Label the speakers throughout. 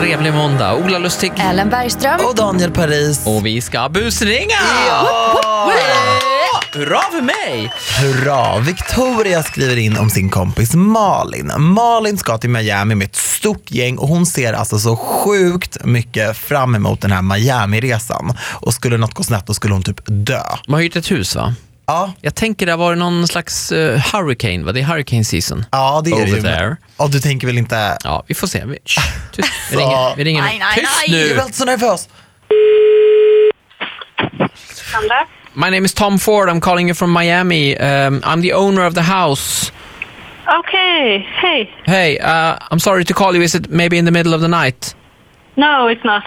Speaker 1: trevlig måndag. Ola Lustig.
Speaker 2: Ellen Bergström.
Speaker 3: Och Daniel Paris.
Speaker 1: Och vi ska busringa!
Speaker 3: Ja!
Speaker 1: Hurra för mig!
Speaker 3: Hurra! Victoria skriver in om sin kompis Malin. Malin ska till Miami med ett stort gäng och hon ser alltså så sjukt mycket fram emot den här Miami-resan. Och skulle något gå snett då skulle hon typ dö.
Speaker 1: Man har hyrt ett hus va?
Speaker 3: Ja,
Speaker 1: Jag tänker det har varit någon slags eh, hurricane, va? Det är hurricane season.
Speaker 3: ja det är
Speaker 1: Over
Speaker 3: det ju.
Speaker 1: there.
Speaker 3: Och du tänker väl inte...
Speaker 1: Ja, vi får se. Vi, Shh, tyst. vi ringer. Vi ringer. nu.
Speaker 2: Nej, nej,
Speaker 1: Tyst
Speaker 2: nej.
Speaker 3: Jag
Speaker 1: nu!
Speaker 3: blir alltid så nervös.
Speaker 4: Sandra?
Speaker 1: My name is Tom Ford. I'm calling you from Miami. Um, I'm the owner of the house.
Speaker 4: Okay. Hey.
Speaker 1: Hey, uh, I'm sorry to call you. Is it maybe in the middle of the night?
Speaker 4: No, it's not.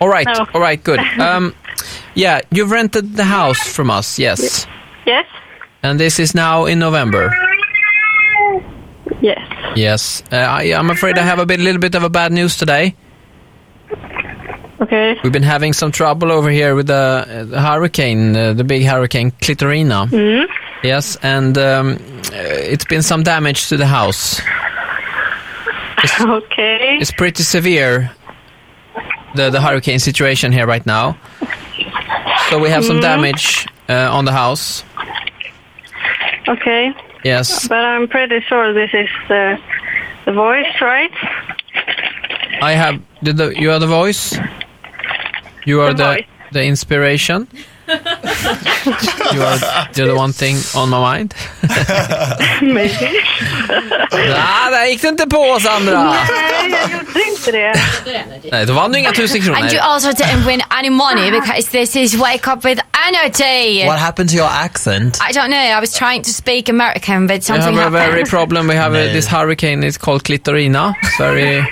Speaker 1: All right,
Speaker 4: No.
Speaker 1: all right, good. Um, yeah, you've rented the house from us, yes.
Speaker 4: Yes.
Speaker 1: And this is now in November.
Speaker 4: Yes.
Speaker 1: Yes. Uh, I, I'm afraid I have a bit, little bit of a bad news today.
Speaker 4: Okay.
Speaker 1: We've been having some trouble over here with the, uh, the hurricane, uh, the big hurricane Clitorina. Yes, and um, uh, it's been some damage to the house.
Speaker 4: Okay.
Speaker 1: It's pretty severe, the, the hurricane situation here right now. So we have some damage uh, on the house.
Speaker 4: Okay.
Speaker 1: Yes,
Speaker 4: But I'm pretty sure this is the the voice, right?
Speaker 1: I have. Did the, you are the voice. You are
Speaker 4: The
Speaker 1: the
Speaker 4: voice.
Speaker 1: the inspiration. you are you're the one thing on my mind.
Speaker 4: Maybe.
Speaker 1: ah, där gick det inte på Sandra!
Speaker 4: Nej, jag gjorde inte det.
Speaker 1: Nej, då vann du inga tusen kronor.
Speaker 2: And you also didn't win any money because this is Wake Up With Energy.
Speaker 3: What happened to your accent?
Speaker 2: I don't know. I was trying to speak American, but
Speaker 1: We
Speaker 2: something
Speaker 1: have a
Speaker 2: happened.
Speaker 1: very problem. We have a, this hurricane. It's called Clitorina. It's very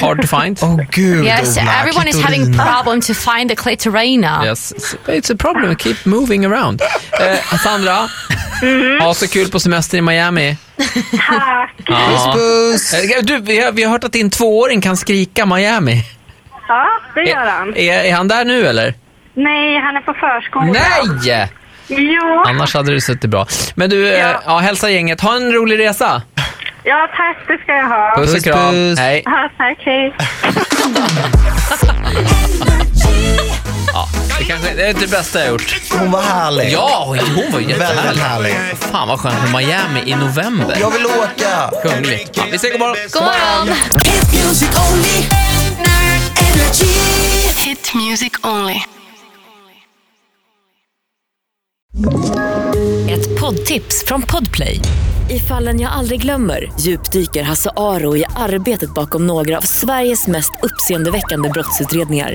Speaker 1: hard to find.
Speaker 3: Åh oh, gud
Speaker 2: yes,
Speaker 3: Ola,
Speaker 2: everyone is having
Speaker 3: Clitorina.
Speaker 2: problem to find the clitorina.
Speaker 1: Yes, it's, it's a problem. Keep moving around. Eh, Sandra, ha så kul på semester i Miami. Ja.
Speaker 3: Puss!
Speaker 1: Eh, Du, vi, har, vi har hört att din tvååring kan skrika Miami.
Speaker 4: Ja, det gör han.
Speaker 1: Är, är han där nu eller?
Speaker 4: Nej, han är på förskolan.
Speaker 1: Nej!
Speaker 4: Jo.
Speaker 1: Annars hade det suttit bra. Men du, ja. Eh,
Speaker 4: Ja.
Speaker 1: ja, hälsa gänget. Ha en rolig resa.
Speaker 4: Ja, tack. Det ska jag ha.
Speaker 1: Puss,
Speaker 3: Puss,
Speaker 1: och kram.
Speaker 3: puss.
Speaker 1: Hej.
Speaker 4: Ja, tack. Hej.
Speaker 1: Ja, det, kanske, det är det bästa jag gjort.
Speaker 3: Hon var härlig.
Speaker 1: Ja, hon var jättehärlig.
Speaker 3: Väldigt härlig.
Speaker 1: Fan vad skönt med Miami i november.
Speaker 3: Jag vill åka!
Speaker 1: Kungligt. Ja, vi säger god morgon.
Speaker 2: God morgon!
Speaker 5: Hit music only. Energy.
Speaker 6: Hit music only.
Speaker 7: Ett poddtips från Podplay. I fallen jag aldrig glömmer djupdyker Hasse Aro i arbetet bakom några av Sveriges mest uppseendeväckande brottsutredningar.